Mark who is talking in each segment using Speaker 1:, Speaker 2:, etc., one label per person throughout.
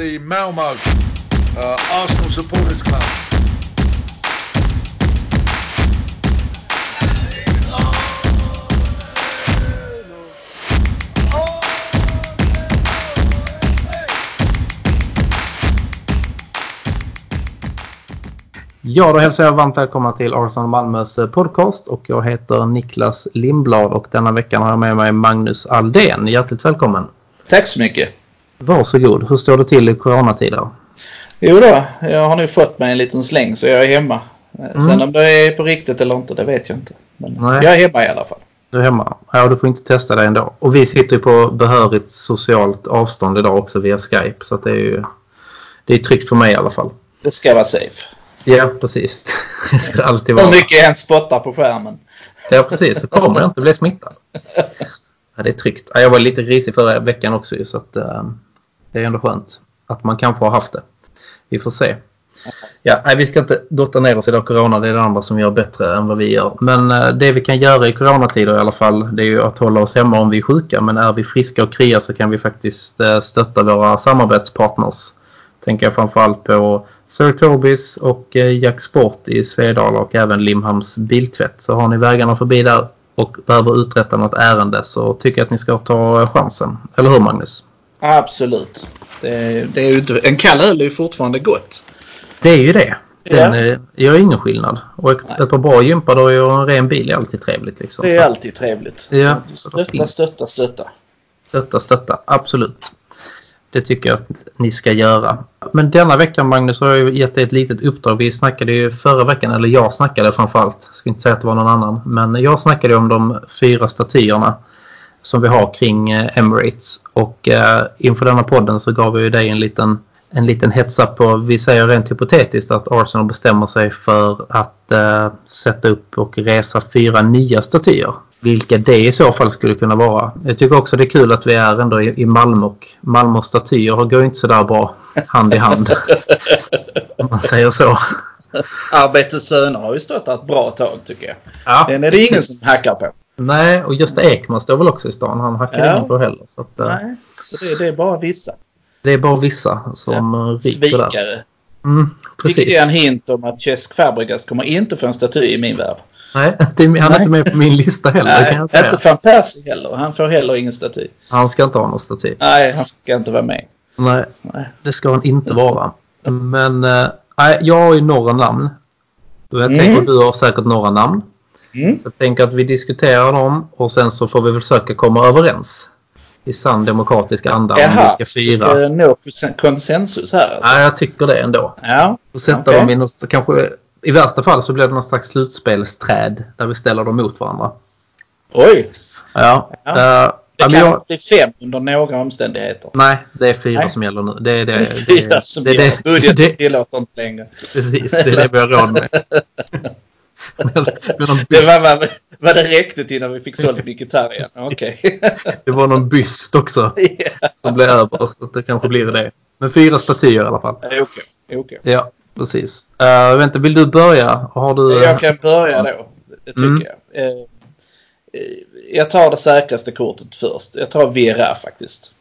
Speaker 1: i Malmö. Uh, Arsenal Supporters Club.
Speaker 2: Ja, då hälsar jag varmt välkomna till Arsenal Malmös eh, podcast och jag heter Niklas Lindblad och denna veckan har jag med mig Magnus Aldén. Hjärtligt välkommen!
Speaker 3: Tack så mycket!
Speaker 2: Varsågod! Hur står det till i coronatider?
Speaker 3: Jo då, jag har nu fått mig en liten släng så jag är hemma. Mm. Sen om det är på riktigt eller inte, det vet jag inte. Men Nej. jag är hemma i alla fall.
Speaker 2: Du är hemma? Ja, du får inte testa dig ändå. Och vi sitter ju på behörigt socialt avstånd idag också via Skype så det är ju det är tryggt för mig i alla fall.
Speaker 3: Det ska vara safe.
Speaker 2: Ja, precis. Det ska det alltid vara.
Speaker 3: Hur mycket jag än spottar på skärmen.
Speaker 2: Ja, precis. Så kommer jag inte bli smittad. Ja, det är tryggt. Jag var lite risig förra veckan också så att, ehm, det är ändå skönt att man kanske har haft det. Vi får se. Ja, nej, vi ska inte gotta ner oss idag. Corona det är det andra som gör bättre än vad vi gör. Men eh, det vi kan göra i coronatider i alla fall det är ju att hålla oss hemma om vi är sjuka. Men är vi friska och krya så kan vi faktiskt eh, stötta våra samarbetspartners. Tänker jag framförallt på Sir Tobis och eh, Jack Sport i Svedala och även Limhamns Biltvätt. Så har ni vägarna förbi där och behöver uträtta något ärende så tycker jag att ni ska ta chansen. Eller hur Magnus?
Speaker 3: Absolut. Det är, det är ju, en kall öl är ju fortfarande gott.
Speaker 2: Det är ju det. Den ja. gör ingen skillnad. Och ett, ett par bra gympadojor och en ren bil är alltid trevligt. Liksom.
Speaker 3: Det är alltid trevligt.
Speaker 2: Ja.
Speaker 3: Stötta, stötta, stötta.
Speaker 2: Stötta, stötta. Absolut. Det tycker jag att ni ska göra. Men denna veckan Magnus har jag gett dig ett litet uppdrag. Vi snackade ju förra veckan, eller jag snackade framförallt. Jag ska inte säga att det var någon annan. Men jag snackade om de fyra statyerna som vi har kring eh, Emirates. Och eh, inför denna podden så gav jag ju dig en liten, en liten hetsa på, vi säger rent hypotetiskt att Arsenal bestämmer sig för att eh, sätta upp och resa fyra nya statyer vilka det i så fall skulle kunna vara. Jag tycker också det är kul att vi är ändå i Malmö och Malmös statyer går ju inte sådär bra hand i hand. Om man säger så.
Speaker 3: Arbetets söner har ju stått där ett bra tag tycker jag. Ja, Den är det ingen som hackar på.
Speaker 2: Nej, och Gösta Ekman står väl också i stan. Han hackar ja. ingen på heller. Så att, eh,
Speaker 3: Nej, så det, det, är bara vissa.
Speaker 2: Det är bara vissa som ja. ryker
Speaker 3: Svikare.
Speaker 2: där. Mm, precis.
Speaker 3: Vilket är en hint om att Cesc Fabregas kommer inte få en staty i min värld.
Speaker 2: Nej, det, han är Nej. inte med på min lista heller.
Speaker 3: Nej, kan jag Inte van Persie heller. Han får heller ingen staty.
Speaker 2: Han ska inte ha någon staty.
Speaker 3: Nej, han ska inte vara med.
Speaker 2: Nej, Nej. det ska han inte vara. Men äh, jag har ju några namn. Jag tänker mm. att du har säkert några namn. Mm. Så jag tänker att vi diskuterar dem och sen så får vi försöka komma överens. I sann demokratisk anda.
Speaker 3: Jaha, vi ska fyra. nå konsensus här?
Speaker 2: Alltså. Ja, jag tycker det ändå.
Speaker 3: Ja,
Speaker 2: och sätta okay. dem i något, kanske i värsta fall så blir det någon slags slutspelsträd där vi ställer dem mot varandra.
Speaker 3: Oj!
Speaker 2: Ja. eh,
Speaker 3: ja. Uh, det kan jag... inte bli fem under några omständigheter.
Speaker 2: Nej, det är fyra Nej. som gäller nu. Det är det. det, är
Speaker 3: fyra Mm, det, som det, gäller. Budgeten det, tillåter inte längre.
Speaker 2: Precis, det är det vi har råd med.
Speaker 3: men, men de det var, var, var det riktigt innan vi fick sålt min gitarr igen? Okej. Okay.
Speaker 2: det var någon byst också yeah. som blev över. Så det kanske blir det. Men fyra statyer i alla fall.
Speaker 3: Okej. Okay. okay.
Speaker 2: Ja precis. Uh, vänta, vill du börja? Har du,
Speaker 3: Jag kan börja då, tycker mm. jag. Uh, jag tar det säkraste kortet först. Jag tar Vera faktiskt.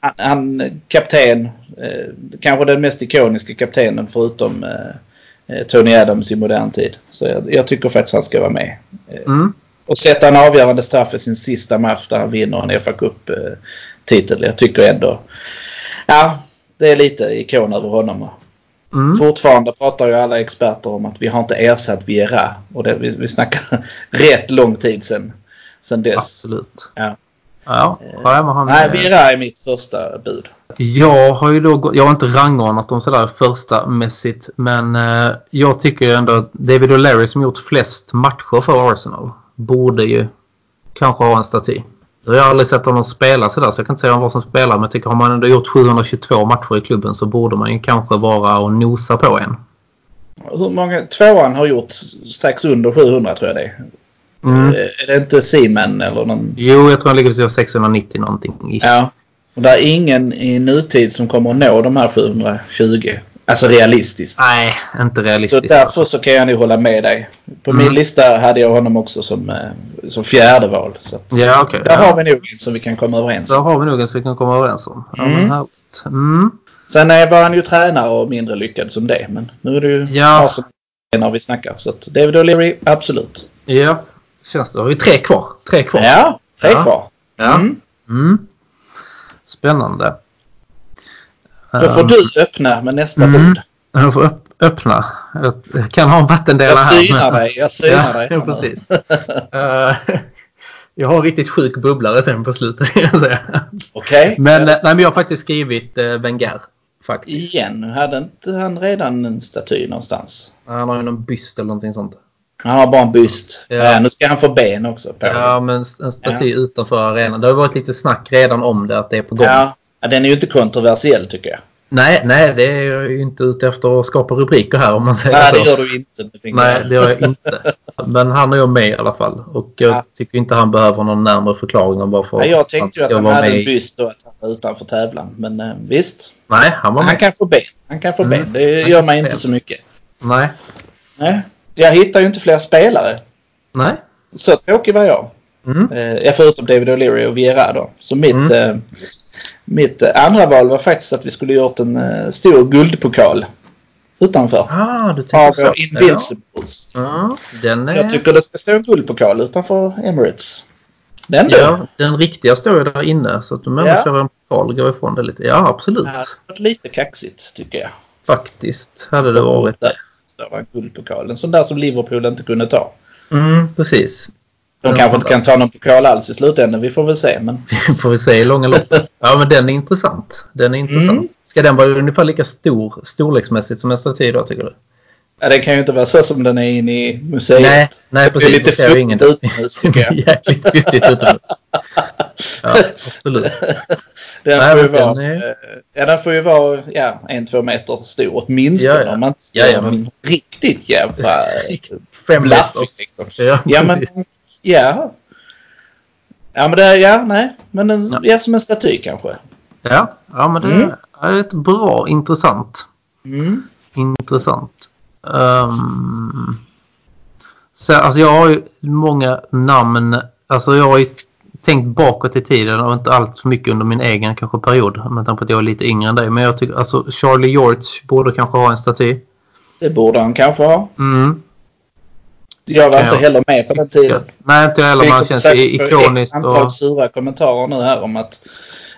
Speaker 3: Han, han kapten, uh, kanske den mest ikoniska kaptenen förutom uh, Tony Adams i modern tid. Så jag, jag tycker faktiskt han ska vara med.
Speaker 2: Mm.
Speaker 3: Och sätta en avgörande straff i sin sista match där han vinner en FA Cup-titel. eh, Jag tycker ändå... Ja, det är lite ikon över honom. Mm. Fortfarande pratar ju alla experter om att vi har inte ersatt Viera. Och det, vi, vi snackar rätt lång tid sedan, sedan dess.
Speaker 2: Absolut.
Speaker 3: Ja.
Speaker 2: Ja, ja
Speaker 3: Nej, Viera är mitt första bud.
Speaker 2: Jag har ju då, jag har inte rangordnat dem sådär första mässigt men eh, jag tycker ju ändå att David O'Leary som gjort flest matcher för Arsenal borde ju kanske ha en staty. Jag har aldrig sett honom spela sådär så jag kan inte säga vad som spelar men jag tycker har man ändå gjort 722 matcher i klubben så borde man ju kanske vara och nosa på en.
Speaker 3: Hur många? Tvåan har gjort strax under 700 tror jag det är. Mm. Är det inte Seaman eller någon?
Speaker 2: Jo, jag tror han ligger på 690 någonting.
Speaker 3: Ja. Och det är ingen i nutid som kommer att nå de här 720. Alltså realistiskt.
Speaker 2: Nej, inte realistiskt.
Speaker 3: Så därför så kan jag nu hålla med dig. På mm. min lista hade jag honom också som, eh, som fjärde val. Så
Speaker 2: ja, okay,
Speaker 3: där
Speaker 2: ja.
Speaker 3: har vi nog en som vi kan komma överens
Speaker 2: om. Där har vi nog en som vi kan komma överens om. Ja, mm. mm.
Speaker 3: Sen eh, var han ju tränare och mindre lyckad som det. Men nu är det ju
Speaker 2: Ja.
Speaker 3: Arsenal när vi snackar. Så att David O'Leary, absolut.
Speaker 2: Ja, känns det. Då har vi tre kvar. Tre kvar.
Speaker 3: Ja, tre
Speaker 2: Ja.
Speaker 3: kvar. Mm.
Speaker 2: Mm. Spännande.
Speaker 3: Då får
Speaker 2: Ehm,
Speaker 3: du öppna med nästa
Speaker 2: Mm.
Speaker 3: bud.
Speaker 2: Jag får öpp- öppna. Jag kan ha en vattendelare
Speaker 3: Jag
Speaker 2: här.
Speaker 3: synar dig. Jag synar dig.
Speaker 2: Ja, precis. Eh, jag har en riktigt sjuk bubblare sen på slutet. ska jag säga.
Speaker 3: Okej.
Speaker 2: men, eh, nej, men jag har faktiskt skrivit eh, Wenger. Faktiskt.
Speaker 3: Igen, hade inte han redan en staty någonstans?
Speaker 2: Han har ju någon byst eller någonting sånt.
Speaker 3: Han har bara en byst.
Speaker 2: Ja.
Speaker 3: Ja. Nu ska han få ben också på.
Speaker 2: Ja, men en staty utanför arenan. Det har varit lite snack redan om det, att det är på gång.
Speaker 3: Ja. Ja, Den är ju inte kontroversiell tycker jag.
Speaker 2: Nej, nej, det är jag ju inte ute efter att skapa rubriker här om man säger
Speaker 3: Nej,
Speaker 2: så.
Speaker 3: det gör du inte. med fingrar.
Speaker 2: Nej, det gör jag inte. Men han är ju med i alla fall. Och jag
Speaker 3: Ja.
Speaker 2: tycker inte han behöver någon närmare förklaring om varför
Speaker 3: Ja, jag tänkte ju att
Speaker 2: ska
Speaker 3: han
Speaker 2: vara
Speaker 3: hade
Speaker 2: med
Speaker 3: en
Speaker 2: i-
Speaker 3: byst och att han var utanför tävlan. Men eh, visst,
Speaker 2: Nej, han var med.
Speaker 3: han kan få ben. Han kan få
Speaker 2: Mm.
Speaker 3: ben. Det
Speaker 2: Han
Speaker 3: gör
Speaker 2: kan
Speaker 3: mig
Speaker 2: få
Speaker 3: inte
Speaker 2: ben.
Speaker 3: så mycket.
Speaker 2: Nej.
Speaker 3: Nej. Jag hittar ju inte fler spelare.
Speaker 2: Nej.
Speaker 3: Så tråkig var jag.
Speaker 2: Mm.
Speaker 3: Eh, ja, förutom David O'Leary och Vieira då. Så mitt,
Speaker 2: Mm.
Speaker 3: eh, mitt eh, andra val var faktiskt att vi skulle gjort en eh, stor guldpokal utanför.
Speaker 2: Ah, du
Speaker 3: Av
Speaker 2: tänker så.
Speaker 3: Invincibles.
Speaker 2: Ja. Ja, den är...
Speaker 3: Jag tycker det ska stå en guldpokal utanför Emirates. Den då?
Speaker 2: Ja, den riktiga står ju där inne. Så att de
Speaker 3: Ja.
Speaker 2: människor en portal går ifrån det lite. Ja, absolut.
Speaker 3: Det hade varit lite kaxigt tycker jag.
Speaker 2: Faktiskt hade det varit det.
Speaker 3: Där står en guldpokal. En sån där som Liverpool inte kunde ta.
Speaker 2: Mm, precis.
Speaker 3: De
Speaker 2: Ja,
Speaker 3: kanske inte
Speaker 2: där.
Speaker 3: kan ta någon pokal alls i slutändan. Vi får väl se. Men
Speaker 2: Får vi se i långa loppet. Ja, men den är intressant. Den är intressant.
Speaker 3: Mm.
Speaker 2: Ska den vara ungefär lika stor storleksmässigt som en staty då, tycker du?
Speaker 3: ja, det kan ju inte vara så som den är inne i museet.
Speaker 2: Nej, nej precis.
Speaker 3: lite
Speaker 2: Då ser jag ju
Speaker 3: futtigt
Speaker 2: ingen-
Speaker 3: utomhus, tycker jag.
Speaker 2: Jäkligt futtigt utomhus. Ja, absolut.
Speaker 3: Den,
Speaker 2: Nej,
Speaker 3: får ju
Speaker 2: men den
Speaker 3: vara,
Speaker 2: är-
Speaker 3: eh, ja, den får ju vara ja, en, två meter stor åtminstone.
Speaker 2: Ja, ja.
Speaker 3: Om man inte ska
Speaker 2: Ja, ja,
Speaker 3: göra
Speaker 2: men-
Speaker 3: någon riktigt jävla eh,
Speaker 2: Riktigt Fem
Speaker 3: blaffig.
Speaker 2: meters.
Speaker 3: Liksom.
Speaker 2: Ja,
Speaker 3: Ja, men,
Speaker 2: precis.
Speaker 3: ja. ja, men det är, ja, nej. Men en,
Speaker 2: Ja.
Speaker 3: ja, som en staty kanske.
Speaker 2: Ja, ja, men det
Speaker 3: Mm.
Speaker 2: är ett bra, intressant.
Speaker 3: Mm.
Speaker 2: Intressant. Um, så, alltså jag har ju många namn. Alltså jag har ju tänkt bakåt i tiden och inte allt för mycket under min egen kanske period. Med tanke på att jag är lite yngre än dig. Men jag tycker alltså Charlie George borde kanske ha en staty.
Speaker 3: Det borde han kanske ha.
Speaker 2: Mm.
Speaker 3: Jag var
Speaker 2: Ja.
Speaker 3: inte heller med på den tiden.
Speaker 2: Nej, inte jag heller.
Speaker 3: Vi
Speaker 2: men han
Speaker 3: kommer
Speaker 2: känns
Speaker 3: säkert
Speaker 2: ju
Speaker 3: få X
Speaker 2: ikoniskt.
Speaker 3: antal
Speaker 2: Och,
Speaker 3: sura kommentarer nu här om att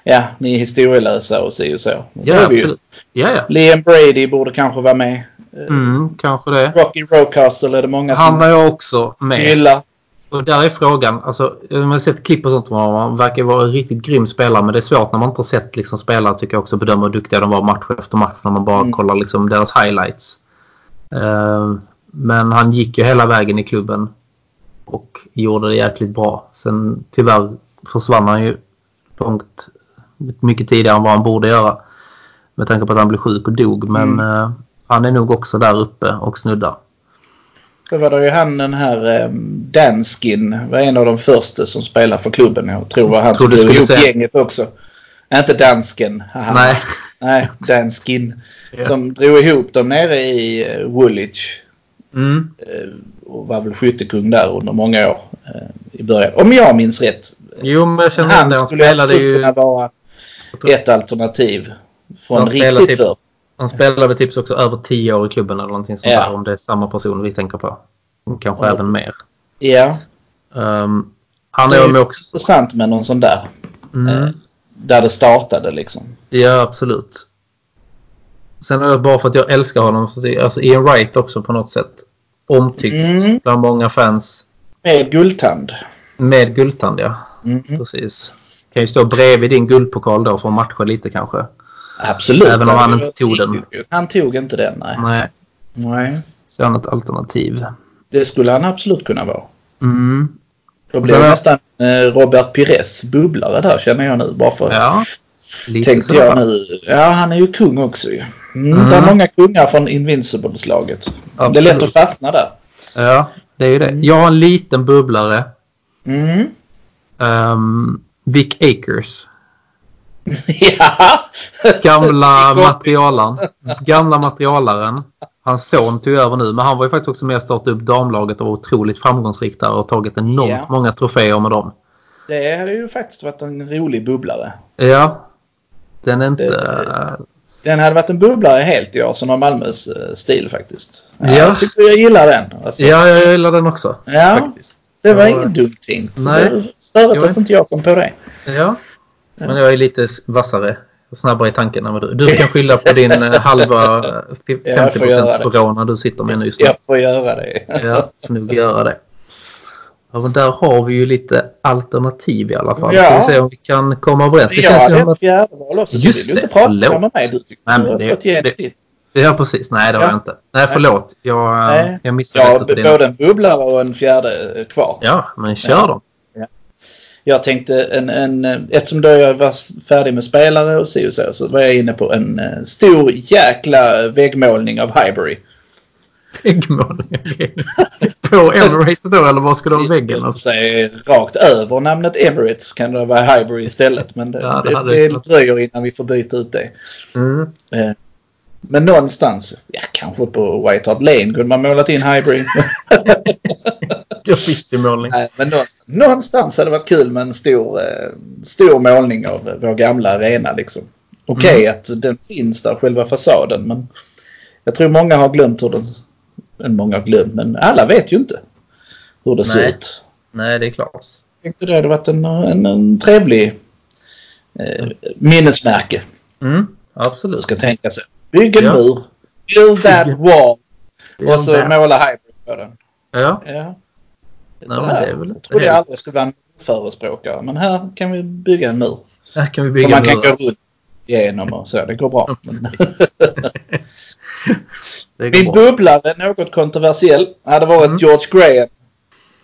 Speaker 3: ja, ni är historielösa och si och så. Det
Speaker 2: ja,
Speaker 3: är vi ju.
Speaker 2: absolut. Ja, ja.
Speaker 3: Liam Brady borde kanske vara med. Eh,
Speaker 2: Mm, kanske det.
Speaker 3: Rocky Roadcaster är det många
Speaker 2: Han
Speaker 3: som
Speaker 2: är jag också med.
Speaker 3: gillar.
Speaker 2: Och där är frågan. Alltså, man har sett klipp och sånt. Var han verkar vara en riktigt grym spelare. Men det är svårt när man inte har sett liksom, spelare tycker jag också bedöma hur duktiga de var match efter match. När man bara
Speaker 3: Mm.
Speaker 2: kollar liksom, deras highlights. Eh, men han gick ju hela vägen i klubben. Och gjorde det jäkligt bra. Sen tyvärr försvann han ju långt mycket tidigare än vad han borde göra. Med tanke på att han blev sjuk och dog. Men eh, han är nog också där uppe och snuddar.
Speaker 3: Då var det ju han den här eh, Danskin. var en av de första som spelade för klubben. Jag tror var han som
Speaker 2: Tror du
Speaker 3: drog
Speaker 2: skulle
Speaker 3: ihop
Speaker 2: säga-
Speaker 3: gänget också. Nej, Inte Dansken. haha.
Speaker 2: Nej.
Speaker 3: Nej, Danskin.
Speaker 2: Ja.
Speaker 3: Som drog ihop dem nere i eh, Woolwich.
Speaker 2: Mm.
Speaker 3: eh, Och var väl skyttekung där under många år. eh, I början. Om jag minns rätt.
Speaker 2: Jo, men jag känner
Speaker 3: Han
Speaker 2: att han
Speaker 3: skulle
Speaker 2: spelade
Speaker 3: absolut
Speaker 2: ju...
Speaker 3: kunna vara
Speaker 2: tror-
Speaker 3: ett alternativ. Från
Speaker 2: Han spelar
Speaker 3: riktigt
Speaker 2: typ-
Speaker 3: förr.
Speaker 2: Han spelade väl typ också över 10 år i klubben eller någonting sånt
Speaker 3: Ja.
Speaker 2: där. Om det är samma person vi tänker på. Kanske
Speaker 3: Ja.
Speaker 2: även mer.
Speaker 3: Ja.
Speaker 2: Ehm, han
Speaker 3: Det
Speaker 2: är
Speaker 3: är
Speaker 2: med också.
Speaker 3: intressant med någon sån där.
Speaker 2: Mm.
Speaker 3: Där det startade liksom.
Speaker 2: Ja, absolut. Sen är det bara för att jag älskar honom. Så det, alltså Ian Wright också på något sätt. Omtyckt
Speaker 3: Mm.
Speaker 2: bland många fans.
Speaker 3: Med guldtand.
Speaker 2: Med guldtand, ja.
Speaker 3: Mm.
Speaker 2: Precis. Kan ju stå bredvid din guldpokal då för att matcha lite kanske.
Speaker 3: Absolut.
Speaker 2: Även om han
Speaker 3: Det
Speaker 2: inte
Speaker 3: var
Speaker 2: tog
Speaker 3: riktigt gud. Han tog inte den, nej.
Speaker 2: Nej,
Speaker 3: nej.
Speaker 2: så är han ett alternativ.
Speaker 3: Det skulle han absolut kunna vara.
Speaker 2: Mm.
Speaker 3: Då blir
Speaker 2: Så-
Speaker 3: det nästan eh, Robert Pires bubblare där känner jag nu. Bara för
Speaker 2: Ja. Lite
Speaker 3: tänkte
Speaker 2: sådär.
Speaker 3: jag nu. Ja, han är ju kung också ju. Mm,
Speaker 2: Mm.
Speaker 3: Det är många kungar från Invincibles-laget. Det är
Speaker 2: Absolut.
Speaker 3: lätt att fastna där.
Speaker 2: Ja, det är ju det. Jag har en liten bubblare.
Speaker 3: Mm.
Speaker 2: Ehm, Vic Akers.
Speaker 3: ja!
Speaker 2: Gamla
Speaker 3: Kompis.
Speaker 2: materialaren. Gamla materialaren. Hans son tog över nu, men han var ju faktiskt också med och startade upp damlaget och var otroligt framgångsrik där och tagit enormt
Speaker 3: Ja.
Speaker 2: många troféer med dem.
Speaker 3: Det hade ju faktiskt varit en rolig bubblare.
Speaker 2: Ja. Den är inte...
Speaker 3: Det- Den hade varit en bubblare helt i år som har Malmös eh, stil faktiskt. Ja,
Speaker 2: Ja.
Speaker 3: Jag tycker jag gillar den. Alltså.
Speaker 2: Ja, jag gillar den också.
Speaker 3: Ja,
Speaker 2: Faktiskt.
Speaker 3: det var
Speaker 2: Ja.
Speaker 3: inget dumt tänkt.
Speaker 2: Nej.
Speaker 3: Det är Störigt
Speaker 2: Jag
Speaker 3: att
Speaker 2: vet.
Speaker 3: inte jag kom på det.
Speaker 2: Ja. Men jag är lite s- vassare och snabbare i tanken än vad du. Du kan skylla på din eh, halva eh, fi-
Speaker 3: Ja, jag får
Speaker 2: 50
Speaker 3: göra det.
Speaker 2: corona du sitter med nu just nu.
Speaker 3: Jag får göra det.
Speaker 2: Ja, får nog göra det. Ja, men där har vi ju lite alternativ i alla fall.
Speaker 3: Ja.
Speaker 2: Ska vi se om vi kan komma överens. Det
Speaker 3: Jag
Speaker 2: känns ju
Speaker 3: hade
Speaker 2: som
Speaker 3: ett
Speaker 2: att...
Speaker 3: fjärde val också.
Speaker 2: Just
Speaker 3: du vill ju inte
Speaker 2: det,
Speaker 3: prata
Speaker 2: förlåt.
Speaker 3: med mig. Du tyckte
Speaker 2: Nej,
Speaker 3: du
Speaker 2: men
Speaker 3: har
Speaker 2: det-
Speaker 3: fått igenom
Speaker 2: det-
Speaker 3: ditt.
Speaker 2: Ja, precis. Nej, det har
Speaker 3: Ja.
Speaker 2: jag inte. Nej,
Speaker 3: Nej.
Speaker 2: förlåt. Jag, eh,
Speaker 3: Nej.
Speaker 2: jag missade
Speaker 3: Ja,
Speaker 2: lite på din.
Speaker 3: både en bubblare och en fjärde eh, kvar.
Speaker 2: Ja, men kör
Speaker 3: Ja.
Speaker 2: dem.
Speaker 3: Jag tänkte en, en, eh, eftersom då jag var färdig med spelare och si och så, så var jag inne på en eh, stor jäkla väggmålning av Highbury.
Speaker 2: Väggmålning. okej. på Emirates då, eller vad skulle du ha väggen? alltså.
Speaker 3: Jag får säga, Rakt över namnet Emirates kan det vara Highbury istället. Men det,
Speaker 2: Ja, det
Speaker 3: det,
Speaker 2: hade
Speaker 3: det
Speaker 2: varit-
Speaker 3: dröjer innan vi får byta ut det.
Speaker 2: Mm.
Speaker 3: Eh, Men någonstans, ja kanske på White Hart Lane kunde man målat in Highbury.
Speaker 2: Graffitimålning.
Speaker 3: Nej, men någonstans, någonstans hade det varit kul med en stor, eh, stor målning av eh, vår gamla arena. Liksom. Okej
Speaker 2: Mm.
Speaker 3: att den finns där, själva fasaden, men jag tror många har glömt hur den... eller Många har glömt, men alla vet ju inte hur det ser
Speaker 2: Nej.
Speaker 3: ut.
Speaker 2: Nej, det är klart.
Speaker 3: Jag tänkte det hade varit en, en, en trevlig eh, minnesmärke.
Speaker 2: Mm.
Speaker 3: Du
Speaker 2: Absolut.
Speaker 3: ska tänka sig. Bygg en
Speaker 2: Ja.
Speaker 3: mur. Build that
Speaker 2: Bygg-
Speaker 3: wall. Och så
Speaker 2: Ja,
Speaker 3: måla hybrid på den.
Speaker 2: ja.
Speaker 3: Ja.
Speaker 2: Nej, men det är väl
Speaker 3: jag
Speaker 2: helt-
Speaker 3: trodde jag aldrig skulle vara en förespråkare, men här kan vi bygga en mur.
Speaker 2: Här kan vi
Speaker 3: Så
Speaker 2: bygga
Speaker 3: man kan
Speaker 2: murar.
Speaker 3: gå runt igenom och så. Det går bra. Men-
Speaker 2: Det går bra.
Speaker 3: Min bubblare, något kontroversiell, hade varit
Speaker 2: Mm.
Speaker 3: George Graham.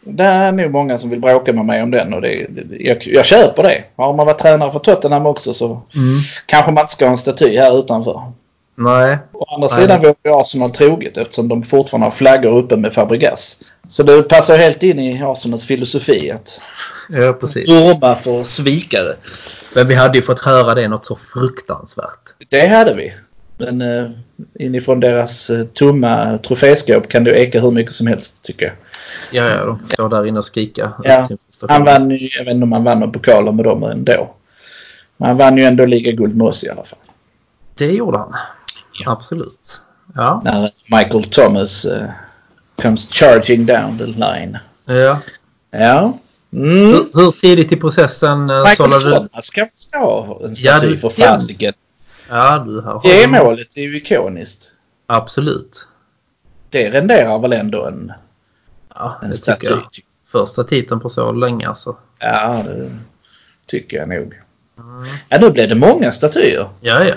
Speaker 3: Det är nog många som vill bråka med mig om den och det, det, jag, jag köper det. Har man varit tränare för Tottenham också så
Speaker 2: Mm.
Speaker 3: kanske man inte ska ha en staty här utanför.
Speaker 2: Nej.
Speaker 3: Å andra
Speaker 2: Nej.
Speaker 3: sidan vore ju Arsenal troget eftersom de fortfarande har flaggor uppe med Fabregas. Så det passar helt in i Arsenals filosofi att
Speaker 2: Ja, precis.
Speaker 3: vurma för svikare.
Speaker 2: Men vi hade ju fått höra det något så fruktansvärt.
Speaker 3: Det hade vi. Men eh, inifrån deras eh, tomma troféskåp kan du eka hur mycket som helst tycker jag.
Speaker 2: Ja, ja, de står där inne och skrika. ut
Speaker 3: Ja.
Speaker 2: sin frustration.
Speaker 3: Han vann ju, jag vet inte om han vann några pokaler med dem ändå. Men han vann ju ändå ligaguld med oss i alla fall.
Speaker 2: Det gjorde han.
Speaker 3: Ja.
Speaker 2: Absolut. Ja.
Speaker 3: När Michael Thomas eh, comes charging down the line.
Speaker 2: ja.
Speaker 3: Ja. Mm.
Speaker 2: Hur, hur tidigt i processen eh,
Speaker 3: Michael
Speaker 2: sållade du?
Speaker 3: Thomas kan väl ha en
Speaker 2: Ja,
Speaker 3: staty
Speaker 2: du-
Speaker 3: för
Speaker 2: ja.
Speaker 3: fasiken.
Speaker 2: Ja, du här har
Speaker 3: Det
Speaker 2: du-
Speaker 3: målet är ju ikoniskt.
Speaker 2: Absolut.
Speaker 3: Det renderar väl ändå en,
Speaker 2: Ja, det
Speaker 3: en
Speaker 2: tycker
Speaker 3: staty.
Speaker 2: jag. Första titeln på så länge alltså.
Speaker 3: Ja, det tycker jag nog.
Speaker 2: Mm.
Speaker 3: Ja, nu blev det många statyer.
Speaker 2: Ja, ja.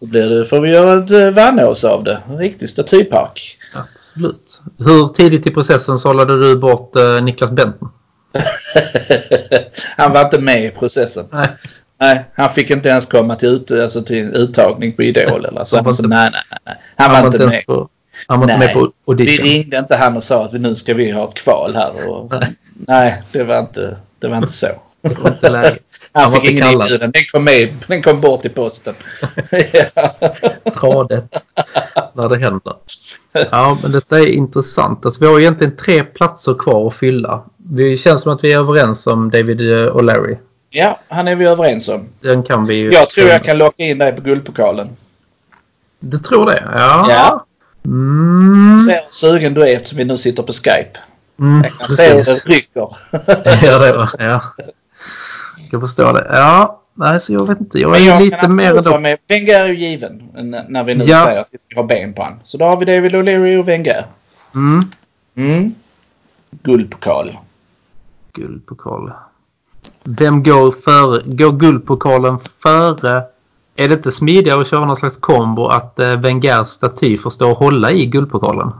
Speaker 3: Då blir det, får vi göra ett eh, Vannås av det. En riktig statypark.
Speaker 2: Absolut. Hur tidigt i processen sållade du bort eh, Niklas Bentner?
Speaker 3: han var inte med i processen.
Speaker 2: Nej.
Speaker 3: Nej, han fick inte ens komma till, ut, alltså till en uttagning på Idol. Eller så.
Speaker 2: Han var
Speaker 3: så
Speaker 2: inte-
Speaker 3: nej, nej, nej, nej. Han, var inte
Speaker 2: ens
Speaker 3: med.
Speaker 2: På, han var inte
Speaker 3: Nej.
Speaker 2: med på
Speaker 3: Vi
Speaker 2: audition.
Speaker 3: ringde inte han och sa att vi nu ska vi ha ett kval här. Och,
Speaker 2: Nej,
Speaker 3: nej, det var inte, det var inte så.
Speaker 2: det var inte läge.
Speaker 3: Han
Speaker 2: Han var
Speaker 3: fick
Speaker 2: inte
Speaker 3: ingen
Speaker 2: kallad.
Speaker 3: inbjudan. Den kom, med, den kom bort i posten. ja.
Speaker 2: Ta det när det händer. Ja, men detta är intressant. Alltså, vi har egentligen tre platser kvar att fylla. Det känns som att vi är överens om David eh, och Larry.
Speaker 3: ja, han är vi överens om.
Speaker 2: Den kan vi ju...
Speaker 3: Jag tror jag kan locka in dig på Guldpokalen.
Speaker 2: Du tror det? Ja.
Speaker 3: Ja.
Speaker 2: Mm.
Speaker 3: Ser hur sugen du är eftersom vi nu sitter på Skype.
Speaker 2: Mm,
Speaker 3: Jag ser hur
Speaker 2: precis.
Speaker 3: det rycker.
Speaker 2: Ja, det var, ja. Jag förstår det. Ja, nej, så jag vet inte. Jag
Speaker 3: Men
Speaker 2: är
Speaker 3: jag
Speaker 2: ju
Speaker 3: kan
Speaker 2: lite
Speaker 3: absolut
Speaker 2: mer
Speaker 3: vara
Speaker 2: ändå.
Speaker 3: med. Wenger är ju given n- när vi nu
Speaker 2: Ja.
Speaker 3: säger att vi ska ha ben på han. Så då har vi David O'Leary och Wenger.
Speaker 2: Mm.
Speaker 3: Mm. Guldpokal.
Speaker 2: Guldpokal. Vem går före? Går guldpokalen före? Är det inte smidigare att köra någon slags kombo att eh, Wengers staty får stå och hålla i guldpokalen?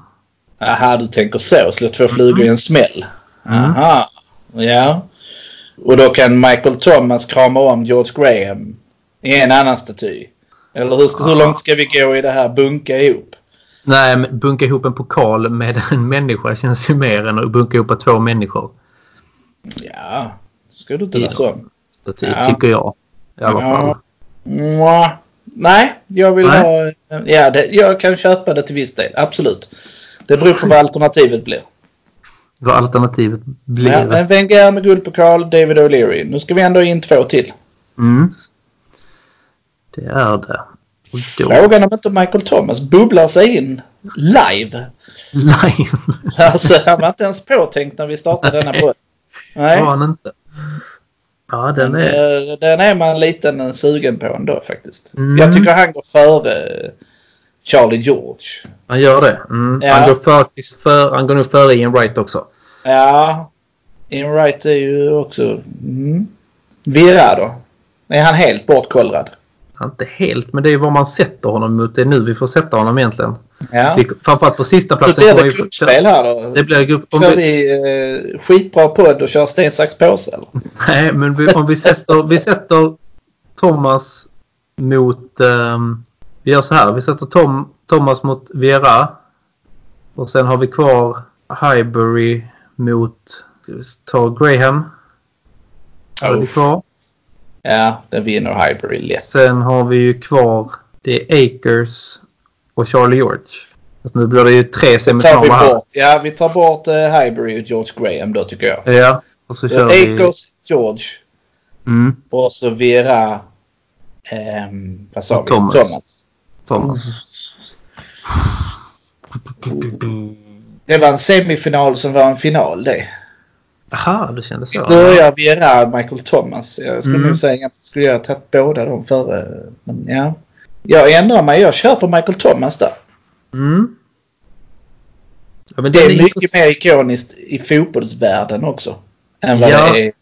Speaker 3: Aha, du tänker så. Slå två flugor i en smäll.
Speaker 2: Mm.
Speaker 3: Aha. Ja. Och då kan Michael Thomas krama om George Graham i en annan staty. Eller hur, ska- hur långt ska vi gå i det här bunka ihop?
Speaker 2: Nej, men bunka ihop en pokal med en människa känns ju mer än att bunka ihop två människor.
Speaker 3: Ja, ska du inte
Speaker 2: Ja.
Speaker 3: vara sån.
Speaker 2: Staty,
Speaker 3: Ja.
Speaker 2: tycker jag. I alla
Speaker 3: Ja.
Speaker 2: fall.
Speaker 3: Mwah. Nej, jag vill
Speaker 2: Nej.
Speaker 3: ha... eh, Ja, det, jag kan köpa det till viss del. Absolut. Det beror på vad alternativet blir.
Speaker 2: Vad alternativet blir.
Speaker 3: Ja, men Wenger med guldpokal, David O'Leary. Nu ska vi ändå in två till.
Speaker 2: Mm. Det Mm. är det. Och då-
Speaker 3: Frågan om inte Michael Thomas bubblar sig in live.
Speaker 2: Nej,
Speaker 3: Alltså han var inte ens påtänkt när vi startade denna
Speaker 2: Nej.
Speaker 3: podd.
Speaker 2: det
Speaker 3: Nej.
Speaker 2: var han inte. Ja, den är...
Speaker 3: Eh, Den är man lite en sugen på ändå faktiskt.
Speaker 2: Mm.
Speaker 3: Jag tycker han går före Charlie George.
Speaker 2: Han gör det. Mm.
Speaker 3: Ja.
Speaker 2: Han, går för, för, han går nog före Ian Wright också.
Speaker 3: Ja, Inright är ju också... Mm. Virra då? Är han helt bortkollrad?
Speaker 2: Ja, Inte helt, men det är vad man sätter honom mot. Det är nu vi får sätta honom egentligen.
Speaker 3: Ja.
Speaker 2: Vi, framförallt på sista
Speaker 3: Då
Speaker 2: platsen.
Speaker 3: blir
Speaker 2: kommer
Speaker 3: det
Speaker 2: vi få-
Speaker 3: gruppspel här då.
Speaker 2: det blir grupp, om
Speaker 3: Kör
Speaker 2: vi,
Speaker 3: vi eh, skitbra podd och kör sten, sax, påse eller?
Speaker 2: nej, men vi, om vi sätter, vi sätter Thomas mot... ehm, vi gör så här. Vi sätter Tom, Thomas mot Vera. Och sen har vi kvar Highbury mot... ska vi Ta Graham. Har vi
Speaker 3: Uff.
Speaker 2: kvar.
Speaker 3: Ja, den vinner Highbury lätt.
Speaker 2: Sen har vi ju kvar det är Akers och Charlie George. Alltså nu blir det ju tre
Speaker 3: Tar vi
Speaker 2: semifinaler här.
Speaker 3: bort, ja, vi tar bort eh, Highbury och George Graham då tycker jag.
Speaker 2: Ja, och så kör vi...
Speaker 3: Akers, George
Speaker 2: Mm,
Speaker 3: och så Vera... ehm, vad sa
Speaker 2: Och
Speaker 3: vi?
Speaker 2: Thomas.
Speaker 3: Thomas.
Speaker 2: Thomas.
Speaker 3: Det var en semifinal som var en final det.
Speaker 2: Jaha, det kändes så.
Speaker 3: Börjar Vera Michael Thomas. Jag skulle
Speaker 2: Mm.
Speaker 3: nog säga att skulle jag ha tagit båda dem före. Men ja. Jag ändrar mig. Jag kör på Michael Thomas där.
Speaker 2: Mm. Ja, men
Speaker 3: Det är mycket
Speaker 2: intressant.
Speaker 3: mer ikoniskt i fotbollsvärlden också. Än vad
Speaker 2: Ja,
Speaker 3: det är.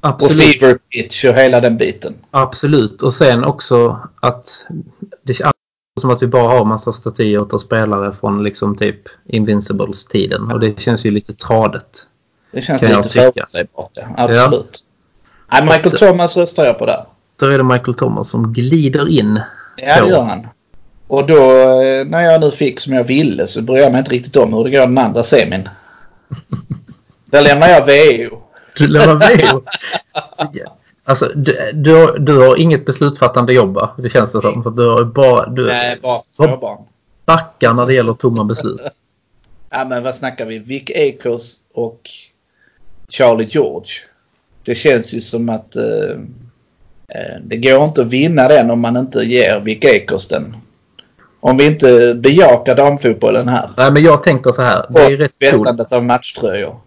Speaker 3: Och
Speaker 2: Absolut.
Speaker 3: Fever Pitch och hela den biten.
Speaker 2: Absolut. Och sen också att det känns som att vi bara har massa statyer av spelare från liksom typ Invincibles-tiden. Och det känns ju lite tradigt.
Speaker 3: Det känns
Speaker 2: Kan jag
Speaker 3: lite
Speaker 2: tycka.
Speaker 3: förutsägbart. Ja. Absolut. Nej, Michael
Speaker 2: Så-
Speaker 3: Thomas röstar jag på där.
Speaker 2: Då är det Michael Thomas som glider in.
Speaker 3: Ja,
Speaker 2: Så.
Speaker 3: det gör han. Och då eh, när jag nu fick som jag ville så bryr jag mig inte riktigt om hur det går i den andra semin. Där lämnar jag VO.
Speaker 2: Du lämnar VO. Alltså, du, du, har- du har inget beslutsfattande jobb va? Det känns det som. För du har bara, du
Speaker 3: Nej, bara för småbarn.
Speaker 2: backar när det gäller tomma beslut.
Speaker 3: Ja men vad snackar vi? Vic Akers och Charlie George. Det känns ju som att eh, eh, det går inte att vinna den om man inte ger Vic Akers den. Om vi inte bejakar damfotbollen här.
Speaker 2: Nej men jag tänker så här. Det är ju
Speaker 3: Och
Speaker 2: rätt coolt.
Speaker 3: tvättandet av matchtröjor.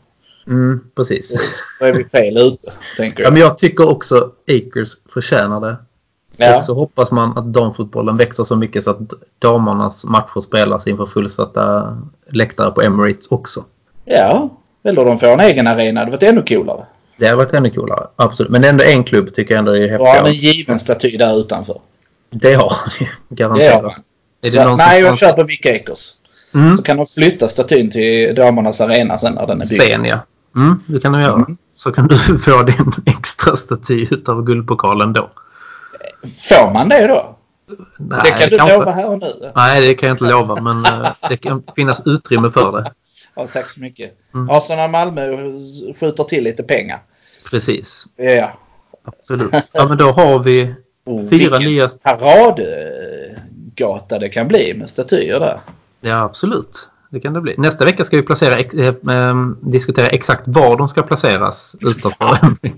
Speaker 2: Mm, precis.
Speaker 3: Då är vi fel ute, tänker
Speaker 2: Ja,
Speaker 3: jag.
Speaker 2: men jag tycker också Akers förtjänar det. Och så hoppas man att damfotbollen växer så mycket så att damernas matcher spelas inför fullsatta läktare på Emirates också.
Speaker 3: ja. Eller de får en egen arena. Det hade varit ännu coolare.
Speaker 2: Det hade varit ännu coolare. Absolut. Men ändå en klubb tycker jag ändå är
Speaker 3: Och har en
Speaker 2: häftigare.
Speaker 3: given staty där utanför.
Speaker 2: Det har han ju.
Speaker 3: Det har
Speaker 2: Garanterat.
Speaker 3: man.
Speaker 2: Är det
Speaker 3: Så,
Speaker 2: någon
Speaker 3: Nej,
Speaker 2: som-
Speaker 3: jag kör på Vic Akers.
Speaker 2: Mm.
Speaker 3: Så kan de flytta statyn till damernas arena sen när den är byggd.
Speaker 2: Sen ja. Mm, det kan du göra. Så kan du få din extra staty utav guldpokalen då.
Speaker 3: Får man det då?
Speaker 2: Nej,
Speaker 3: det kan du
Speaker 2: jag inte-
Speaker 3: lova här och nu.
Speaker 2: Nej, det kan jag inte lova. Men eh, det kan finnas utrymme för det.
Speaker 3: Ja, tack så mycket.
Speaker 2: Mm.
Speaker 3: Arsenal Malmö skjuter till lite pengar.
Speaker 2: Precis.
Speaker 3: Ja.
Speaker 2: Absolut. Ja, men då har vi
Speaker 3: Oh,
Speaker 2: fyra
Speaker 3: vilken
Speaker 2: nya...
Speaker 3: Paradgata det kan bli med statyer där.
Speaker 2: Ja, absolut. Det kan det bli. Nästa vecka ska vi placera, ex- eh, eh, diskutera exakt var de ska placeras utanför ämnet.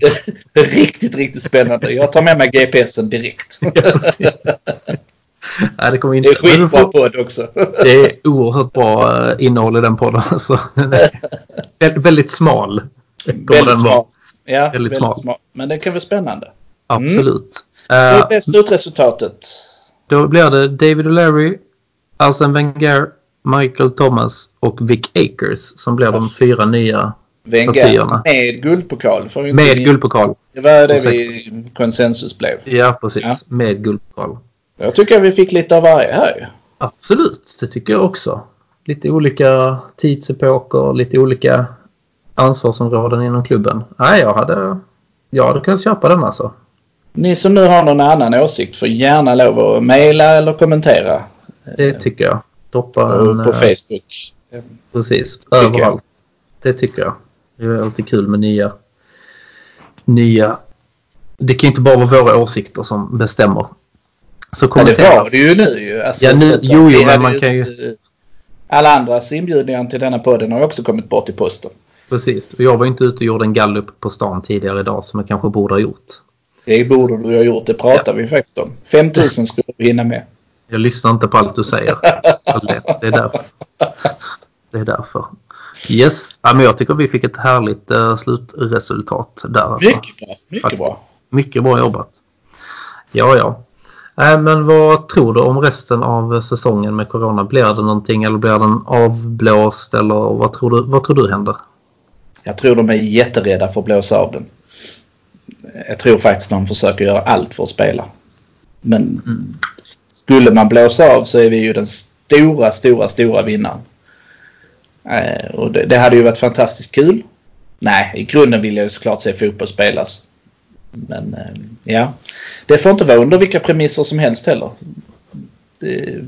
Speaker 3: riktigt, riktigt spännande. Jag tar med mig GPSen direkt.
Speaker 2: Nej, det kommer inte...
Speaker 3: Det är
Speaker 2: Men vi
Speaker 3: skitbra
Speaker 2: får-
Speaker 3: podd också.
Speaker 2: Det är oerhört bra eh, innehåll i den podden. Alltså. Den är vä- väldigt smal. Kommer den
Speaker 3: väldigt
Speaker 2: vara.
Speaker 3: smart. Ja, väldigt,
Speaker 2: Väldigt smart.
Speaker 3: smart. Men det kan vara spännande.
Speaker 2: Absolut.
Speaker 3: Vad
Speaker 2: Eh,
Speaker 3: Mm. är slutresultatet?
Speaker 2: då blir det David O'Leary, Arsene Wenger, Michael Thomas och Vic Akers som blir de fyra nya
Speaker 3: Wenger
Speaker 2: Statyerna.
Speaker 3: med guldpokal. Får vi inte
Speaker 2: med
Speaker 3: min-
Speaker 2: guldpokal.
Speaker 3: Det var det vi konsensus blev.
Speaker 2: Ja, precis.
Speaker 3: Ja.
Speaker 2: Med guldpokal.
Speaker 3: Jag tycker vi fick lite av varje här ju.
Speaker 2: Absolut, det tycker jag också. Lite olika tidsepoker, lite olika ansvarsområden inom klubben. Nej, jag hade, jag hade kunnat köpa den alltså.
Speaker 3: Ni som nu har någon annan åsikt får gärna lov att mejla eller kommentera
Speaker 2: Det tycker jag. Droppa en...
Speaker 3: Eh, på
Speaker 2: eh,
Speaker 3: Facebook.
Speaker 2: Precis,
Speaker 3: jag.
Speaker 2: överallt. Det tycker jag. Det är alltid kul med nya... Nya... Det kan ju inte bara vara våra åsikter som bestämmer. Så
Speaker 3: Ja, det
Speaker 2: kommentera.
Speaker 3: var det ju nu ju. Alltså,
Speaker 2: Ja, nu-
Speaker 3: så att säga.
Speaker 2: jo, jo,
Speaker 3: Vi
Speaker 2: men
Speaker 3: hade
Speaker 2: man kan ju-
Speaker 3: inte- Alla andras inbjudningar till denna podden har också kommit bort i posten.
Speaker 2: Precis. Och Jag var inte ute och gjorde en gallup på stan tidigare idag som jag kanske borde ha gjort.
Speaker 3: Det borde du ha gjort. Det pratar vi faktiskt om. 5000 skulle du hinna med.
Speaker 2: Jag lyssnar inte på allt du säger. Det är därför. Det är därför. Yes, ja, men jag tycker vi fick ett härligt eh, slutresultat där. alltså.
Speaker 3: Mycket bra. Mycket
Speaker 2: Faktiskt.
Speaker 3: bra.
Speaker 2: Mycket bra jobbat. Ja, ja. Eh, Men vad tror du om resten av säsongen med Corona? Blir det någonting eller blir den avblåst? Eller vad tror du, vad tror du händer?
Speaker 3: Jag tror de är jätterädda för att blåsa av den. Jag tror faktiskt de försöker göra allt för att spela. Men skulle man blåsa av så är vi ju den stora, stora, stora vinnaren. Eh, och det, det hade ju varit fantastiskt kul. Nej, i grunden vill jag ju såklart se fotboll spelas. Men eh, ja, det får inte vara under vilka premisser som helst heller. Det,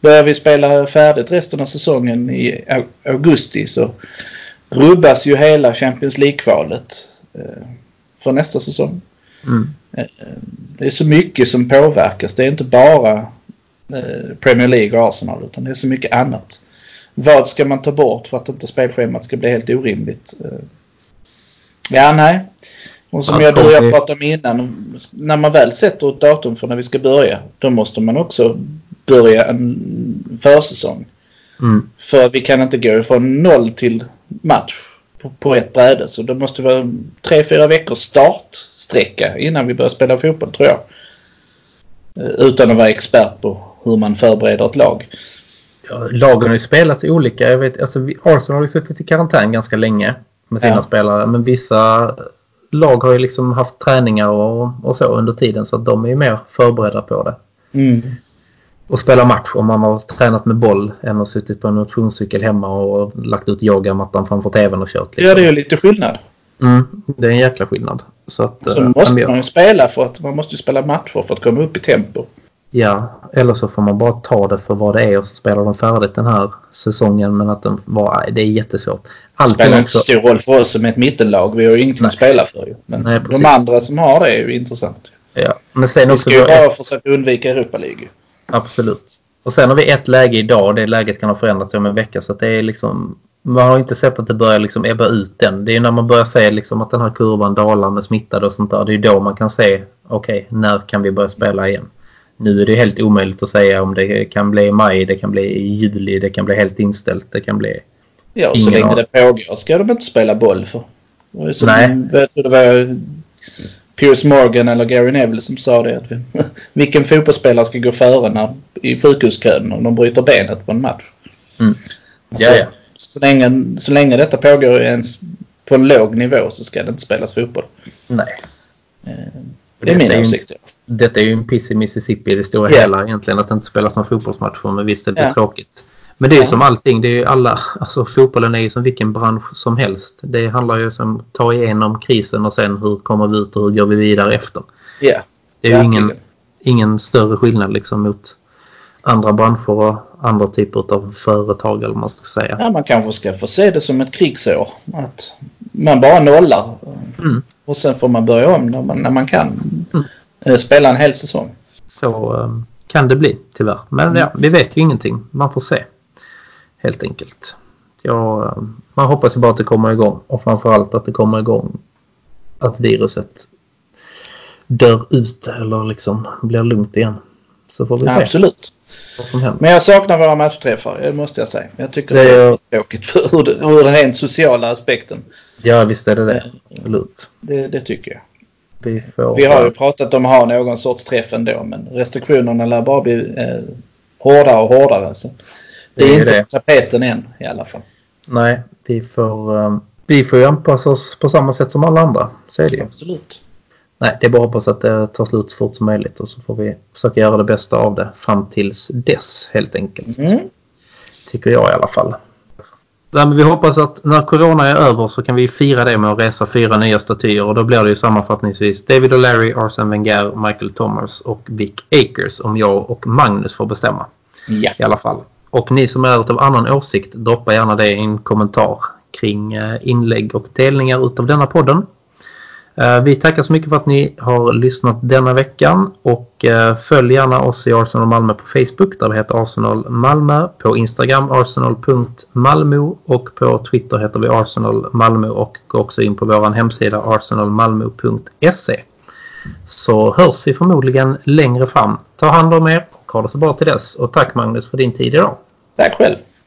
Speaker 3: börjar vi spela färdigt resten av säsongen i au- augusti så rubbas ju hela Champions League-kvalet eh, för nästa säsong.
Speaker 2: Mm.
Speaker 3: Det är så mycket som påverkas. Det är inte bara eh, Premier League och Arsenal utan det är så mycket annat. Vad ska man ta bort för att inte spelschemat ska bli helt orimligt? Eh, Ja, nej. Och som
Speaker 2: Ja,
Speaker 3: jag, du och jag
Speaker 2: det-
Speaker 3: pratade om innan, när man väl sätter ett datum för när vi ska börja, då måste man också börja en försäsong.
Speaker 2: Mm.
Speaker 3: För vi kan inte gå från noll till match på, på ett bräde. Så det måste vara tre, fyra veckors startsträcka innan vi börjar spela fotboll tror jag. Eh, Utan att vara expert på hur man förbereder ett lag.
Speaker 2: Ja, lagen har ju spelat olika. Jag vet, alltså, vi- Arsenal har ju suttit i karantän ganska länge med sina
Speaker 3: Ja.
Speaker 2: spelare. Men vissa lag har ju liksom haft träningar och, och så under tiden så att de är ju mer förberedda på det.
Speaker 3: Mm.
Speaker 2: och spela match om man har tränat med boll än att suttit på en motionscykel hemma och lagt ut yogamattan framför tvn och kört.
Speaker 3: Ja,
Speaker 2: Liksom.
Speaker 3: det är ju lite skillnad.
Speaker 2: Mm, det är en jäkla skillnad. Så att,
Speaker 3: Så
Speaker 2: eh, men
Speaker 3: måste
Speaker 2: jag-
Speaker 3: man ju spela för att man måste ju spela matcher för att komma upp i tempo.
Speaker 2: ja, eller så får man bara ta det för vad det är och så spelar de färdigt den här säsongen. Men att den var, nej, det är jättesvårt.
Speaker 3: Det
Speaker 2: Allting
Speaker 3: spelar inte
Speaker 2: också.
Speaker 3: så stor roll för oss som ett mittenlag. Vi har ju ingenting
Speaker 2: Nej.
Speaker 3: att spela för ju. Men
Speaker 2: Nej,
Speaker 3: de
Speaker 2: precis.
Speaker 3: andra som har det är ju intressant.
Speaker 2: Ja, men sen
Speaker 3: Vi
Speaker 2: också
Speaker 3: ska ju
Speaker 2: då ett,
Speaker 3: bara försöka undvika Europa League. ju.
Speaker 2: absolut. Och sen har vi ett läge idag och det läget kan ha förändrats om en vecka. Så att det är liksom, man har inte sett att det börjar liksom ebba ut än. Det är ju när man börjar se liksom att den här kurvan dalar med smittade och sånt där. Det är ju då man kan se, okej, när kan vi börja spela igen? Nu är det helt omöjligt att säga om det kan bli i maj, det kan bli i juli, det kan bli helt inställt, det kan bli...
Speaker 3: Ja, och så
Speaker 2: Ingen
Speaker 3: länge
Speaker 2: aning.
Speaker 3: det pågår ska de inte spela boll för. Det var ju som,
Speaker 2: Nej.
Speaker 3: Jag tror det var Piers Morgan eller Gary Neville som sa det. Att vi, vilken fotbollsspelare ska gå före när, i sjukhuskön om de bryter benet på en match?
Speaker 2: Mm.
Speaker 3: Alltså,
Speaker 2: Ja, ja.
Speaker 3: Så, länge, så länge detta pågår ens på en låg nivå så ska det inte spelas fotboll. Eh,
Speaker 2: Nej.
Speaker 3: Det är min
Speaker 2: ju-
Speaker 3: åsikt. ja.
Speaker 2: Detta är ju en piss i Mississippi i det stora
Speaker 3: Ja.
Speaker 2: hela egentligen att det inte spelas några fotbollsmatcher men visst är det
Speaker 3: Ja.
Speaker 2: tråkigt. Men det är ju
Speaker 3: Ja.
Speaker 2: som allting, det är ju alla, alltså fotbollen är ju som vilken bransch som helst. Det handlar ju om att ta igenom krisen och sen hur kommer vi ut och hur går vi vidare efter.
Speaker 3: Ja,
Speaker 2: Det är ju ingen,
Speaker 3: verkligen.
Speaker 2: ingen större skillnad liksom mot andra branscher och andra typer av företag eller vad man ska säga.
Speaker 3: Ja, man kanske ska få se det som ett krigsår. Att man bara nollar.
Speaker 2: Mm.
Speaker 3: Och sen får man börja om när man, när man kan.
Speaker 2: Mm.
Speaker 3: Eh, Spela en hel säsong.
Speaker 2: Så eh, kan det bli tyvärr. Men
Speaker 3: Mm.
Speaker 2: ja, vi vet ju ingenting. Man får se. Helt enkelt. Ja, eh, man hoppas ju bara att det kommer igång. Och framförallt att det kommer igång. Att viruset dör ut eller liksom blir lugnt igen. Så får vi
Speaker 3: Ja,
Speaker 2: se
Speaker 3: absolut.
Speaker 2: vad som händer.
Speaker 3: Men jag saknar våra matchträffar, det måste jag säga. Jag tycker
Speaker 2: Det
Speaker 3: det
Speaker 2: är-
Speaker 3: är tråkigt för hur, det- hur den rent sociala aspekten.
Speaker 2: Ja, visst är det det. Absolut.
Speaker 3: Det, det tycker jag.
Speaker 2: Vi, får,
Speaker 3: Mm.
Speaker 2: eh,
Speaker 3: Vi har ju pratat om att ha någon sorts träff ändå men restriktionerna lär bara bli eh, hårdare och hårdare. Så. Det
Speaker 2: Det är
Speaker 3: är
Speaker 2: ju
Speaker 3: inte
Speaker 2: det.
Speaker 3: på tapeten än i alla fall.
Speaker 2: Nej, vi får, eh, vi får ju anpassa oss på samma sätt som alla andra. Så är det ju.
Speaker 3: Absolut.
Speaker 2: Nej, det är bara att hoppas att det tar slut så fort som möjligt och så får vi försöka göra det bästa av det fram tills dess helt enkelt.
Speaker 3: Mm.
Speaker 2: Tycker jag i alla fall. Nej, men vi hoppas att när Corona är över så kan vi fira det med att resa fyra nya statyer och då blir det ju sammanfattningsvis David O'Leary, Arsene Wenger, Michael Thomas och Vic Akers om jag och Magnus får bestämma
Speaker 3: Ja.
Speaker 2: i alla fall. Och ni som är av annan åsikt, droppa gärna det i en kommentar kring eh, inlägg och delningar utav denna podden. Eh, Vi tackar så mycket för att ni har lyssnat denna veckan och eh, följ gärna oss i Arsenal Malmö på Facebook där vi heter Arsenal Malmö, på Instagram arsenal.malmo och på Twitter heter vi Arsenal Malmö och gå också in på vår hemsida arsenalmalmo.se. Så hörs vi förmodligen längre fram. Ta hand om er och håller sig bara till dess. Och tack Magnus för din tid idag.
Speaker 3: Tack själv.